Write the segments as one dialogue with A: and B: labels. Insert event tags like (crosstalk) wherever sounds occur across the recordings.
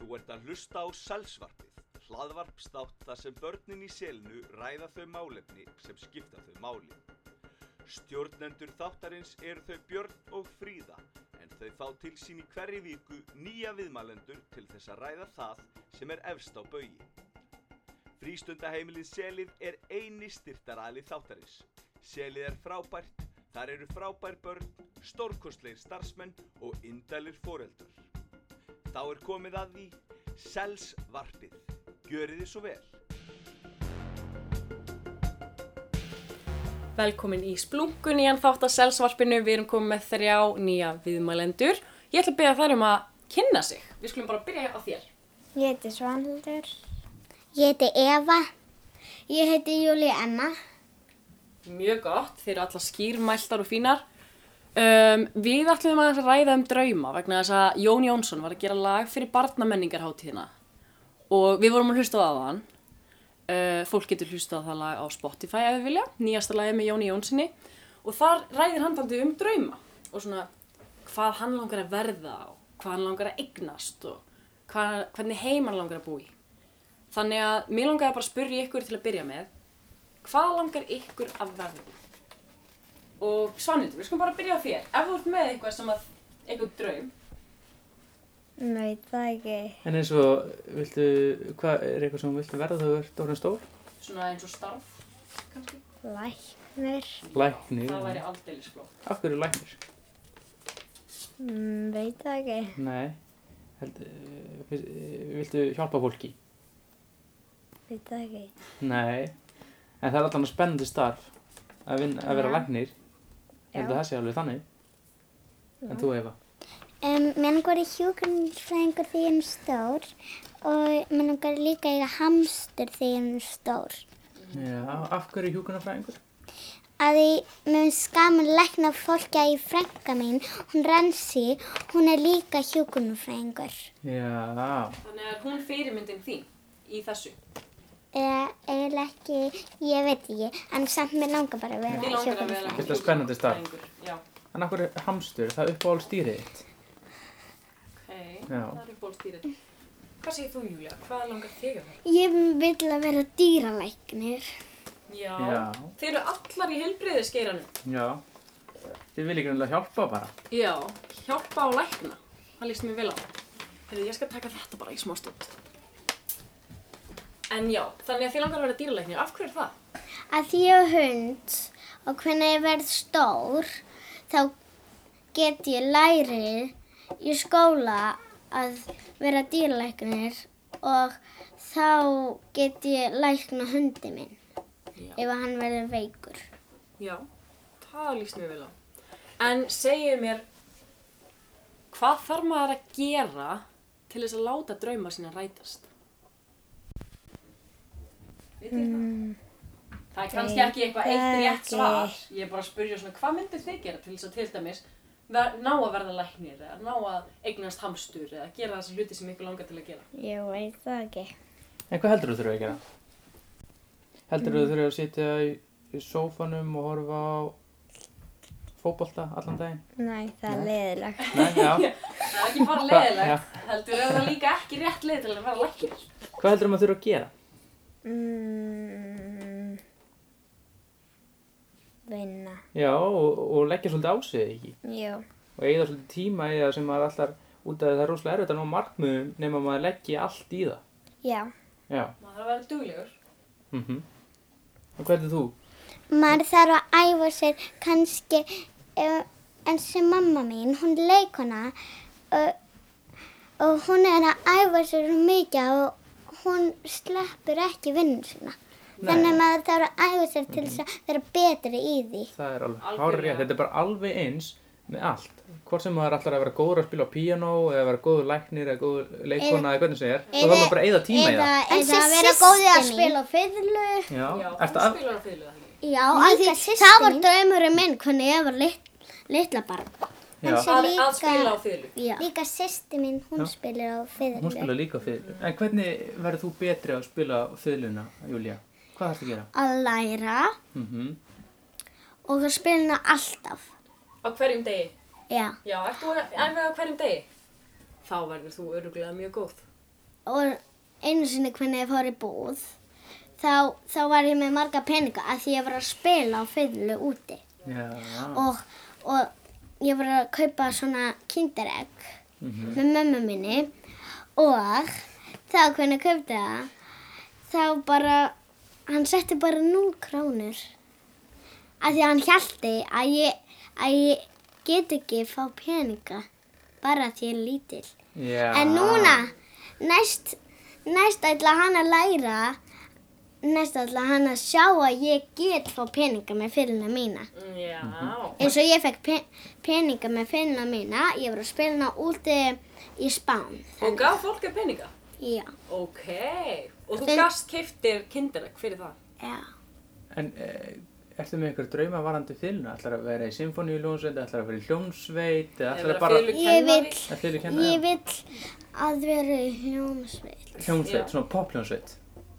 A: Þú ert að hlusta á Sælsvarpið, hlaðvarpstátt þar sem börnin í selinu ræða þau málefni sem skipta þau máli. Stjórnendur þáttarins eru þau Björn og Fríða, en þau fá til sín í hverri viku nýja viðmælendur til þess að ræða það sem er efst á baugi. Frístundaheimilið Selið er eini styrtaræli þáttarins. Selið er frábært, þar eru frábær börn, stórkostleir starfsmenn og indælir foreldur. Þá er komið að því Selsvarpið. Gjörið þið svo vel.
B: Velkomin í Splungun í hann þátt að selsvarpinu. Við erum komið með þrjá nýja viðmælendur. Ég ætla að byrja þær um að kynna sig. Við skulum bara byrja á þér.
C: Ég heiti Svanhildur.
D: Ég heiti Eva. Ég heiti Júlia Emma.
B: Mjög gott, þeir eru allar skýrmæltar og fínar. Um, við ætlum að ræða um drauma vegna þess að Jón Jónsson var að gera lag fyrir barnamenningarháttíðina og við vorum að hlusta á það hann. Uh, fólk getur hlusta á það lag á Spotify ef við vilja, nýjasta lagi með Jóni Jónssoni og þar ræðir hann daldið um drauma og svona hvað hann langar að verða á, hvað hann langar að eignast og hvað, hvernig heim hann langar að búi. Þannig að mér langaði bara að spyrja ykkur til að byrja með hvað langar ykkur að verða? Og Svanhildur, við skulum bara byrja á þér. Ef þú ert með eitthvað sem að, eitthvað draum,
C: Nei, það ekki.
E: En eins og, viltu, hvað er eitthvað sem þú viltu verða þegar þú ert orðin stór?
B: svona eins og starf, kannski,
C: Læknir.
E: Læknir.
B: það væri aldeilis flott.
E: Af hverju læknir?
C: Mm, veit það ekki.
E: Nei. Held, eh, fyrst- eh, viltu hjálpa fólki?
C: Veit það ekki.
E: Nei. En það er alltaf spennandi starf að, vinna, að vera
C: Já.
E: læknir. Ég held
C: Já.
E: að það sé alveg þannig. En þú, Eva?
D: Um, mér langar í hjúgrunnsfræðingur því ég er stór og mér langar líka að eiga hamstur því ég er stór.
E: Já, af hverju hjúkunarfræðingur?
D: Að því mér finnst skaman lækna fólki að ég frænka mín, hún Rensi, hún er líka hjúgrunnsfræðingur.
E: Já,
B: Þannig að hún fyrirmyndin þín í þessu.
D: Eða eiginlega ekki, ég veit ekki, en samt mér langar bara
B: Þið
D: að
B: langar
D: vera
B: að vera
D: hjúgrunnsfræðingur.
E: Þetta er spennandi starf.
B: hjúkrunarfræðingur, Já,
E: en af hverju hamstur? Það er uppáhald stýrið þitt.
B: ok,
E: Já.
B: það eru bólstýrið. Hvað segir þú, Júlia? Hvað langar þig að vera?
D: Ég vil að vera dýralæknir.
B: Já.
E: Já.
B: Þið eru allar í helbriðiskeiranum.
E: Já. Þið viljið grunlega hjálpa bara.
B: Já, hjálpa og lækna. Það líst mér vel á. Hefur ég skal taka þetta bara í smá stund. En já, þannig að þið langar að vera dýralæknir. Af hverju er það?
D: að því ég er hund og hvernig ég verð stór þá get ég læri í skóla að vera dýralæknir og þá get ég lækna hundi minn
B: Já.
D: ef hann verður veikur.
B: Já, það líst mér vel á. En segið mér, hvað þarf maður að gera til þess að láta drauma sína rætast? Vitið þið það? Það er kannski
C: Nei,
B: ekki eitthvað
C: það
B: eitt
C: er
B: rétt
C: ekki.
B: svar. Ég er bara að spyrja svona, hvað myndir þið gera til þess að til dæmis ver, ná að verða læknir eða ná að eignast hamstur eða gera þessa hluti sem ykkur langar til að gera?
C: Ég veit það ekki.
E: En hvað heldur þú þurfa að gera? Heldur þú þurfa að sitja í, í sófanum og horfa á fótbolta allan daginn?
C: Nei, það er leðilegt.
E: Nei, já.
B: Það er ekki
E: (laughs)
B: bara
E: Hvað-
B: leiðilegt, heldur er það líka ekki rétt leið til að verða læknir.
E: Hvað heldur þú að þurfa að gera?
C: Mm, vinna.
E: Já, og, og leggja svolítið á sig ekki.
C: Jú.
E: Og eigða svolítið tíma í það sem maður allar út af því það er rosalega erfitt að ná markmiðum nema maður leggji allt í það.
C: Já.
E: Já.
B: Maður þarf að vera duglegur.
E: Mm Og hvað heldur þú?
D: Maður þarf að æfa sér kannski eh, eins og mamma mín, hún er leikona og, og hún er að æfa sér svo mikið og hún sleppur ekki vinnun sína. Þannig að maður þarf að æfa sér til þess að vera betri í því.
E: Það er alveg
B: Algjörlega.
E: hárið, þetta er bara alveg eins með allt. Hvort sem maður ætlar að vera góður að spila á píanó eða vera góður læknir eða góður leikona eða hvernig sem er, þá þarf maður bara að eigða tíma í það.
D: eða að vera góðið að spila
C: fiðlu.
E: Já,
B: Já,
E: ertu
B: hún
E: að,
B: spilar á fiðlu það ekki.
D: Já,
C: af því það var
D: draumurinn minn hvernig ég var lit, litla barn.
E: já,
D: Hann sé-
B: Að,
D: Líka-
B: að spila á fiðlu.
D: Já. Líka sýsti mín, hún spilar á fiðlu.
E: hún spila líka á fiðlu. En hvernig verður þú betri á að spila á fiðluna, Júlia? Hvað þarfst að gera?
D: Að læra
E: Mm
D: og það spila hana alltaf.
B: Á hverjum degi.
D: Já.
B: Já, ert þú að æfa á hverjum degi? Þá verður þú öruglega mjög góð.
D: og einu sinni hvernig ég fór í búð þá, þá var ég með marga peninga að því ég var að spila á fiðlu úti
E: Já,
D: og, og ég var að kaupa svona kinderegg með mömmu minni og þá hvernig ég kaupti það þá bara hann setti bara 0 krónur af því að hann hjælti að ég, að ég get ekki fá peninga bara af því ég er lítil
E: já.
D: En núna, næst, næst ætla hann að læra, næst ætla hann að sjá að ég get fá peninga með fyrirna mína.
B: Já.
D: Eins og ég fekk pe peninga með fyrirna mína, ég var að spila hana úti í Spán.
B: Og gaf fólk að peninga?
D: Já,
B: Ok. Og þú
D: Stund-
B: gafst keiftir kinderegg fyrir það?
D: já.
E: En e, ertu með einhver drauma varandi fylgna? Ætlar að vera í symfóníuljónsveit, ætlar að vera í hljómsveit, eða ætlar að bara...
B: Eða vera
D: Ég
B: fiðlukennari?
D: vill,
E: að fylgkenna?
D: ég vill að vera í hljómsveit.
E: Hljómsveit,
B: Já.
E: svona popljómsveit.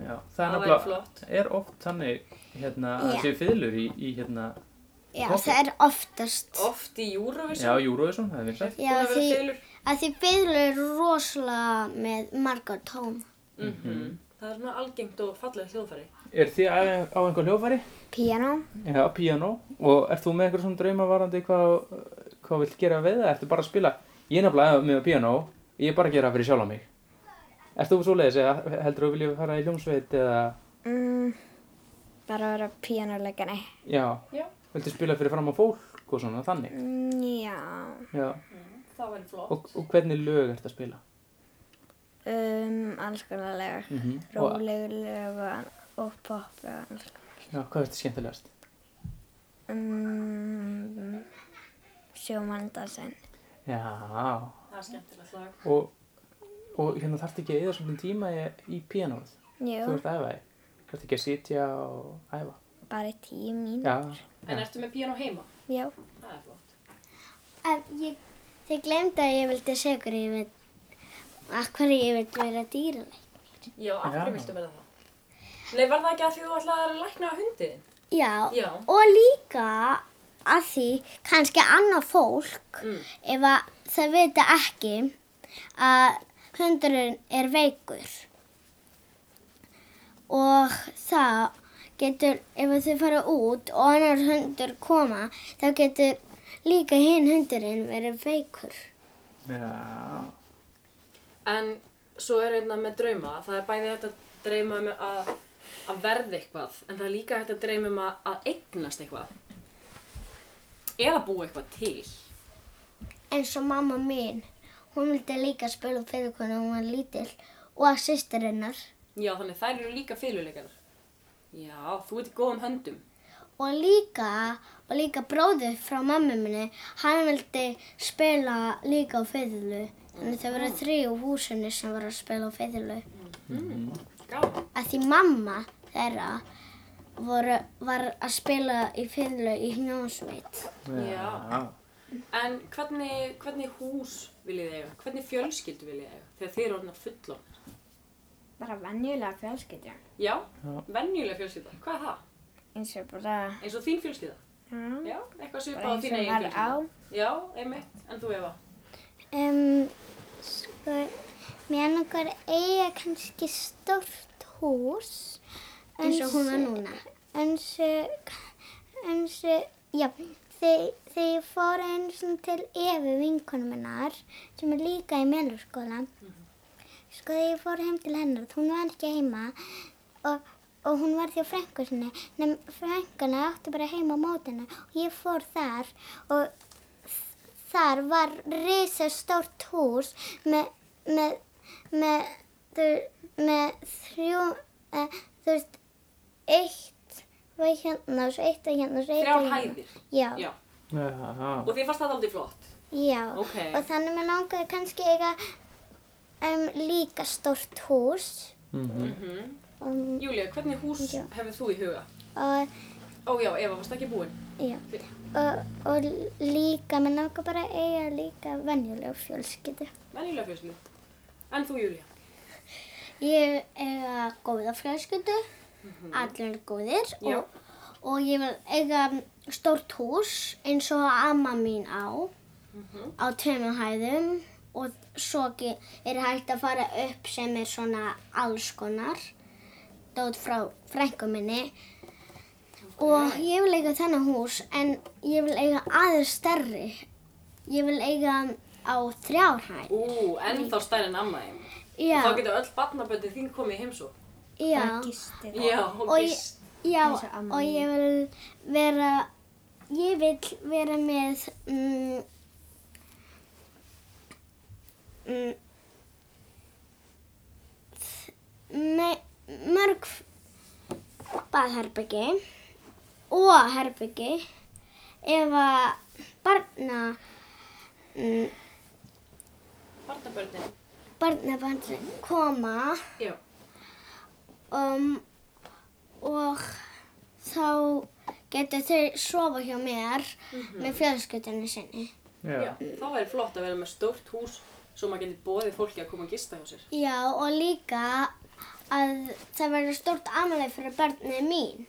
E: Já, það er
B: Það væri
E: nefnilega,
B: flott.
E: er oft þannig hérna að
D: Já.
E: það séu fiðlur í, í hérna,
D: Já,
E: Popp.
D: það er oftast.
B: Oft í
E: já,
B: Eurovision?
E: Júruvísson, það er vinsætt.
B: Búin
D: Já,
B: að vera
D: því,
B: fiðlur?
D: að því byrður er rosalega með marga tón.
B: Mhm. Það er svona algengt og fallega hljóðfæri.
E: Er þið að- á einhver hljófari?
C: Piano.
E: Já, piano. Og ert þú með einhver svona drauma varandi hvað, hvað vilt gera við það? Ertu bara að spila? Ég er nefnilega með piano, ég er bara að gera það fyrir sjálf á mig. Ert þú svo leiðis eða heldur þú viljið fara í hljómsveit eða,
C: Mm, bara að vera píanuleikari.
E: já,
B: Já.
E: viltu spila fyrir fram á fólk og svona þannig?
C: Mm, já.
E: Já.
B: Það væri flott.
E: Og, og hvernig lög ert að spila?
C: Um, alls konar lög.
E: Mm -hmm.
C: Rólegur lög og, og pop og alls konar.
E: Já, hvað er þetta skemmtilegast?
C: Um, Sjómandansen.
E: Já,
B: Það er skemmtilegt lag.
E: og, og hérna þarftu ekki að eða svolítið tíma í- í pianoð. Þú
C: Jú,
E: ert að æfa þig. Þarftu ekki að sitja og æfa.
C: bara tíu mín.
E: Já,
B: En ertu með piano heima?
C: Já.
B: Það er flott.
D: að ég, þið glemdi að ég vildi segja ykkur ég vil að hverju ég vil vera dýralæk
B: Já, af hverju
E: Já.
B: viltu vera það? Nei, var það ekki að því þú ætlaði að lækna hundin?
D: já,
B: Já.
D: og líka að því kannski annað fólk
B: Mm.
D: ef að það vita ekki að hundurinn er veikur og það getur, ef að þau fara út og annar hundur koma þá getur líka hinn hundurinn verið veikur
E: já,
B: En svo er einna með drauma, það er bæði hægt að drauma um að, að verða eitthvað, en það er líka hægt að drauma um að, að eignast eitthvað. Eða búa eitthvað til.
D: eins og mamma mín hún vildi líka spila fyrir hvernig hún var lítill og sýstir hennar
B: Já, þannig þær eru líka fyrirleikar. Já, þú ert í góðum höndum.
D: og líka og líka bróður frá mamma minni hann vildi spila líka á fiðlu þannig þau voru þrjú húsunni sem voru að spila á fiðlu
B: Gáðum.
D: að því mamma þeirra voru, var að spila í fiðlu í hljómsveit
E: já.
B: En hvernig, hvernig hús viljið þið eiga? Hvernig fjölskyldu viljið þið eiga? Þegar þið eru orðin að fullon.
C: Bara venjulega fjölskyldja.
B: Já,
E: Já.
B: venjulega fjölskylda. Hvað er það?
C: Eins og bara,
B: Eins og þín fjölskylda?
C: já,
B: Já, eitthvað
C: Mm. bara
B: svipað á
C: eins
B: þín
C: og
B: eigin
C: var á.
B: fjölskylda. Já, einmitt. En þú Eva?
D: um, sko mér langar að eiga kannski stórt hús eins og hún var núna eins og eins og já þeg- þegar ég fór einu svona til Efi vinkonum hennar sem er líka í melurskóla sko þegar ég fór heim til hennar hún var ekki heima og og hún var því á frængu sinni nefn frænguna átti bara heima á mótinu og ég fór þar og þar var risa stórt hús með, með, með, þau- með þrjú, eh, þú veist, eitt var hérna og svo eitt var hérna og svo eitt var
B: Þrjár
D: hérna.
B: hæðir.
D: Já,
B: Já.
D: já.
E: Já,
B: Og þið fannst það aldrei flott. Ok.
D: Og þannig mér langaði kannski eiga um, líka stórt hús
E: Mhm.
D: og,
B: Júlia, hvernig hús
D: Já.
B: hefur þú í huga?
D: og,
B: Ó já, Eva, varst ekki búin?
D: já, og, og líka, mér langar bara að eiga líka venjuleg fjölskyldu.
B: Venjulega fjölskylda. En þú Júlia?
D: Ég eiga góða fjölskyldu, allir góðir
B: Mhm. Já.
D: og, og ég vil eiga
B: Mhm.
D: stórt hús eins og amma mín á, á tveimur hæðum og svo ge- er hægt að fara upp sem er svona alls konar dót frá frængum minni og ég vil eiga þennan hús en ég vil eiga aðeins stærri ég vil eiga á þrjárhæð
B: Ú, ennþá stærri en amma þeim.
D: já,
B: Þá getur öll barnaböndin þín komið í heimsó.
D: já,
C: Gistir.
B: Já, og
D: Og ég-
B: gist.
D: já
C: Eins og amma
D: og
C: mín.
D: ég vil vera ég vil vera með mm, mm, me- mörg baðherbyggi og herbyggi ef að barna mm,
B: Barnaböndin.
D: barnabarn koma
B: Já.
D: um, og þá getur þau sofa hjá mér með fjölskyldunni sinni.
B: Já. Þá væri flott að vera með stórt hús svo maður getur bóðið fólki að koma að gista hjá sér.
D: Já, og líka að það verður stórt amalegi fyrir barnið mín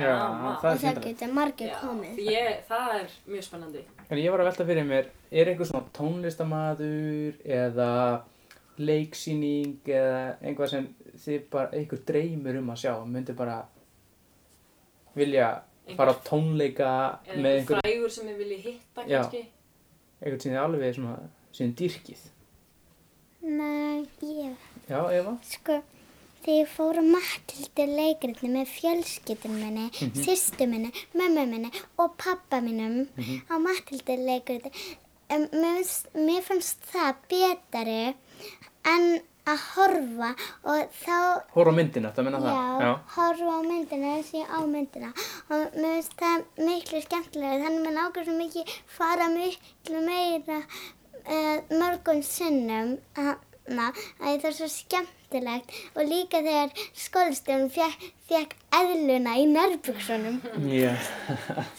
E: Já,
B: Gaman.
E: það
D: og
E: er
D: það
E: skemmtilegt.
D: getur margir
B: Já,
D: komið.
B: því Ég, það er mjög spennandi.
E: En ég var að velta fyrir mér, er einhver svona tónlistamadur eða leiksýning eða einhvað sem þið bara, einhver dreymir um að sjá og myndi bara vilja
B: Einhver-
E: fara á tónleika
B: Eða
E: með
B: einhver
E: einhver,
B: frægur sem við viljum hitta
E: Já.
B: kannski.
E: einhver sem þið alveg svona, sem þið dýrkið.
D: Nei, ég...
E: Já, Eva?
D: Sko, þegar ég fór á Matildi leikritni með fjölskyldum minni, mm sýstu minni, mömmu minni og pappa mínum á Matildi leikritni, um, mér, finnst- mér fannst það betari en að horfa og þá,
E: Hóra á myndina, það menna
D: já,
E: það.
D: horfa á myndina eins og ég á myndina og mér finnst það miklu skemmtilega þannig að mér langar svo mikið fara miklu meira uh, mörgum sinnum hana, að það er svo skemmtilegt og líka þegar skólastjórn fekk, fekk eðluna í nærbuksunum
E: Já.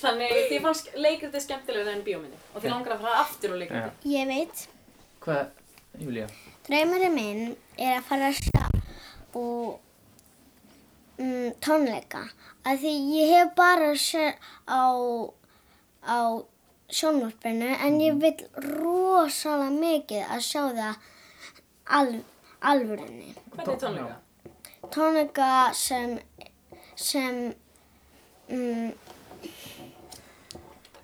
B: Þannig því fannst leikriti skemmtilegur en bíómyndi og því langar að fara aftur á leikriti.
D: Ég veit,
E: Hvað, Júlía?
D: draumurinn minn er að fara að sjá og mm, tónleika af því ég hef bara séð á, á sjónvarpinu en ég vil rosalega mikið að sjá það al, alvörinni.
B: Hvernig tónleika?
D: Tónleika sem, sem mm,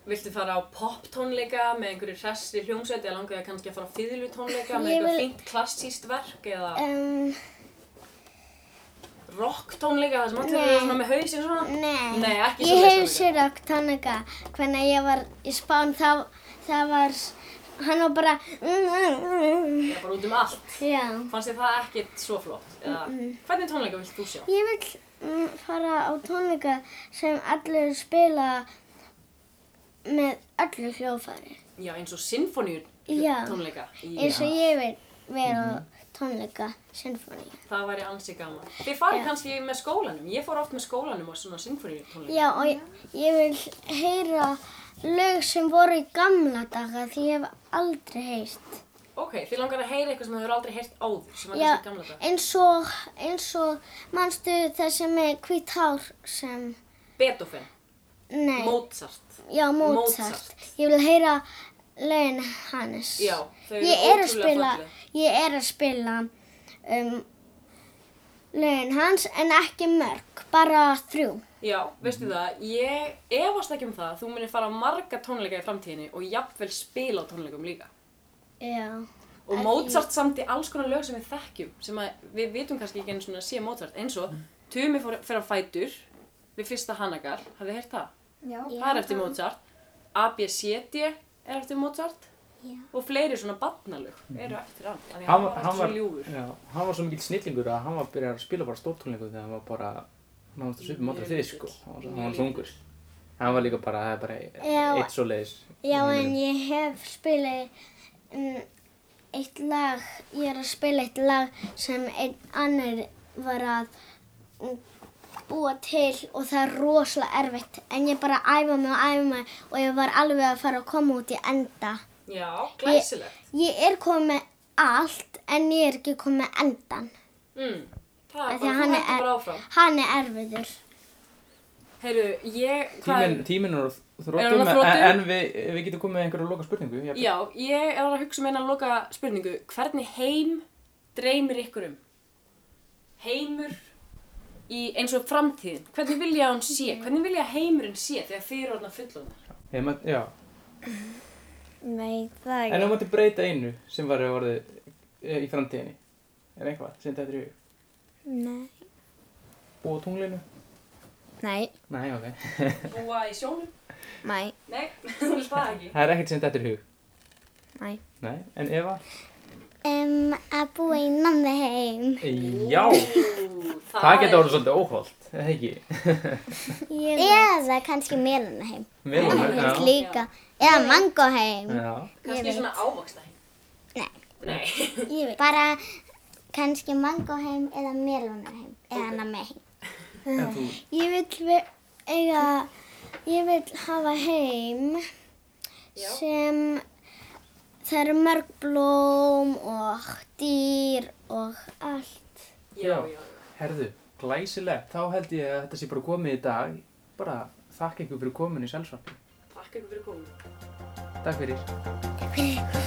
B: Viltu fara á poptónleika með einhverju hressi hljómsveit eða langar þig kannski að fara á fiðlutónleika með
D: Ég
B: eitthvað
D: vil-
B: fínt klassíst verk eða
D: um,
B: rocktónleika þar sem allir eru
D: Nei.
B: svona með hausin svona?
D: Nei,
B: Nei, ekki
D: ég
B: svoleiðis
D: hef
B: tónleika.
D: sér okk tónleika hvernig ég var í Spán þá, það var, hann var bara (laughs)
B: Eða bara út um allt.
D: Já,
B: Fannst þið það ekkert svo flott? Eða hvernig tónleika vilt þú sjá?
D: ég vil mm, fara á tónleika sem allir spila með öllu hljófari
B: Já, eins og sinfoníu
D: Já.
B: tónleika. Í,
D: eins og ég vil vera á tónleika sinfóníu
B: það væri ansi gaman. Þið farið kannski með skólanum. Ég fór oft með skólanum á svona sinfoníu tónleika.
D: Já, og ég, ég vil heyra lög sem voru í gamla daga því ég hef aldrei heyrt
B: Ok, þið langar að heyra eitthvað sem þau eru aldrei heyrt áður, sem var
D: Já,
B: kannski í gamla dag.
D: eins og, eins og, mannstu þessi með hvít hár sem,
B: Beethoven,
D: nei,
B: Mozart.
D: já, Mozart.
B: Mozart.
D: Ég vil heyra lögin hans.
B: Já, þau eru
D: ég er að
B: ótrúlega
D: spila,
B: falleg.
D: ég er að spila um, lögin hans en ekki mörg, bara þrjú.
B: Já, veistu það, ég efast ekki um það. Þú munir fara á marga tónleika í framtíðinni og jafnvel spila á tónleikum líka.
D: Já,
B: Og Mozart samti alls konar lög sem við þekkjum, sem að við vitum kannski ekki einu svona að sé Mozart. Eins og, Tumi fór, fyrir á fætur við fyrsta Hanagar, hafið þið heyrt það?
C: Já.
B: Það er eftir Mozart. ABCD er eftir Mozart.
D: Já.
B: Og fleiri svona barnalög eru eftir hann. Þannig að
E: Hann,
B: hann var
E: hann,
B: eftir
E: var, Mm.
B: svo ljúfur.
E: já, hann var svo mikill snillingur að hann var að byrja að spila bara stórtónleikum þegar hann var bara nánast að svipa mótra
B: Mjög
E: þið
B: lítill.
E: sko hann var, svo-
B: Mjög
E: hann var svo ungur hann var líka bara, það er bara
D: Já.
E: eitt svo leiðis
D: já en ég hef spilað um, eitt lag, ég er að spila eitt lag sem einn annar var að mm, búa til og það er rosalega erfitt en ég bara æfa mig og æfa mig og ég var alveg að fara að koma út í enda.
B: Já, glæsilegt.
D: Ég er komið með allt en ég er ekki komið með endan.
B: Mm. Það er bara,
D: Af því að
B: þú
D: hann
B: hættir
D: er-
B: bara áfram.
D: Hann er erfiður.
B: Heyrðu, ég... hvað er-
E: Tíminn tímin er á
B: Er hann
E: þróttum
B: á
E: en,
B: þrotum?
E: en við, við getum komið með einhverju loka spurningu jafnvel.
B: Já, ég er að hugsa um eina loka spurningu. Hvernig heim dreymir ykkur um? Heimur í eins og framtíðin. Hvernig vilja hún sé? Hvernig vilja heimurinn sé þegar þið eru orðna fullorðna?
E: Ég mætt- já.
C: Nei, það
E: En þú
C: ekki.
E: mátti breyta einu sem var að orði í framtíðinni er eitthvað sem þetta er í hug
C: Nei.
E: Búa á tunglinu?
C: Nei,
E: Nei, ok (laughs)
B: Búa í sjónum?
C: nei,
B: Nei, (laughs) þú vil það ekki.
E: Það er ekkert sem þetta er í hug
C: nei.
E: Nei, en Eva?
D: Um, að búa í nammi heim.
E: Já,
B: Ú, það,
E: það getur orðið svolítið óholt eða ekki (laughs)
C: Ég,
D: Eða kannski melana heim.
E: Melónu,
B: Já.
D: Helst líka. Eða mango heim.
E: já.
B: Kannski svona ávaksta heim.
D: Nei.
B: Nei.
D: Bara kannski mango heim eða melana heim. Eða nammi heim.
E: En þú,
C: ég vil ve- eiga, ég vil hafa heim
B: Já.
C: sem það eru mörg blóm og dýr og allt.
B: Já,
E: Já.
B: já, já.
E: herðu, glæsilegt þá held ég að þetta sé bara komið í dag bara þakka ykkur fyrir komin í Selsvappi
B: Takk ykkur fyrir komuna.
E: Takk fyrir
D: Takk fyrir.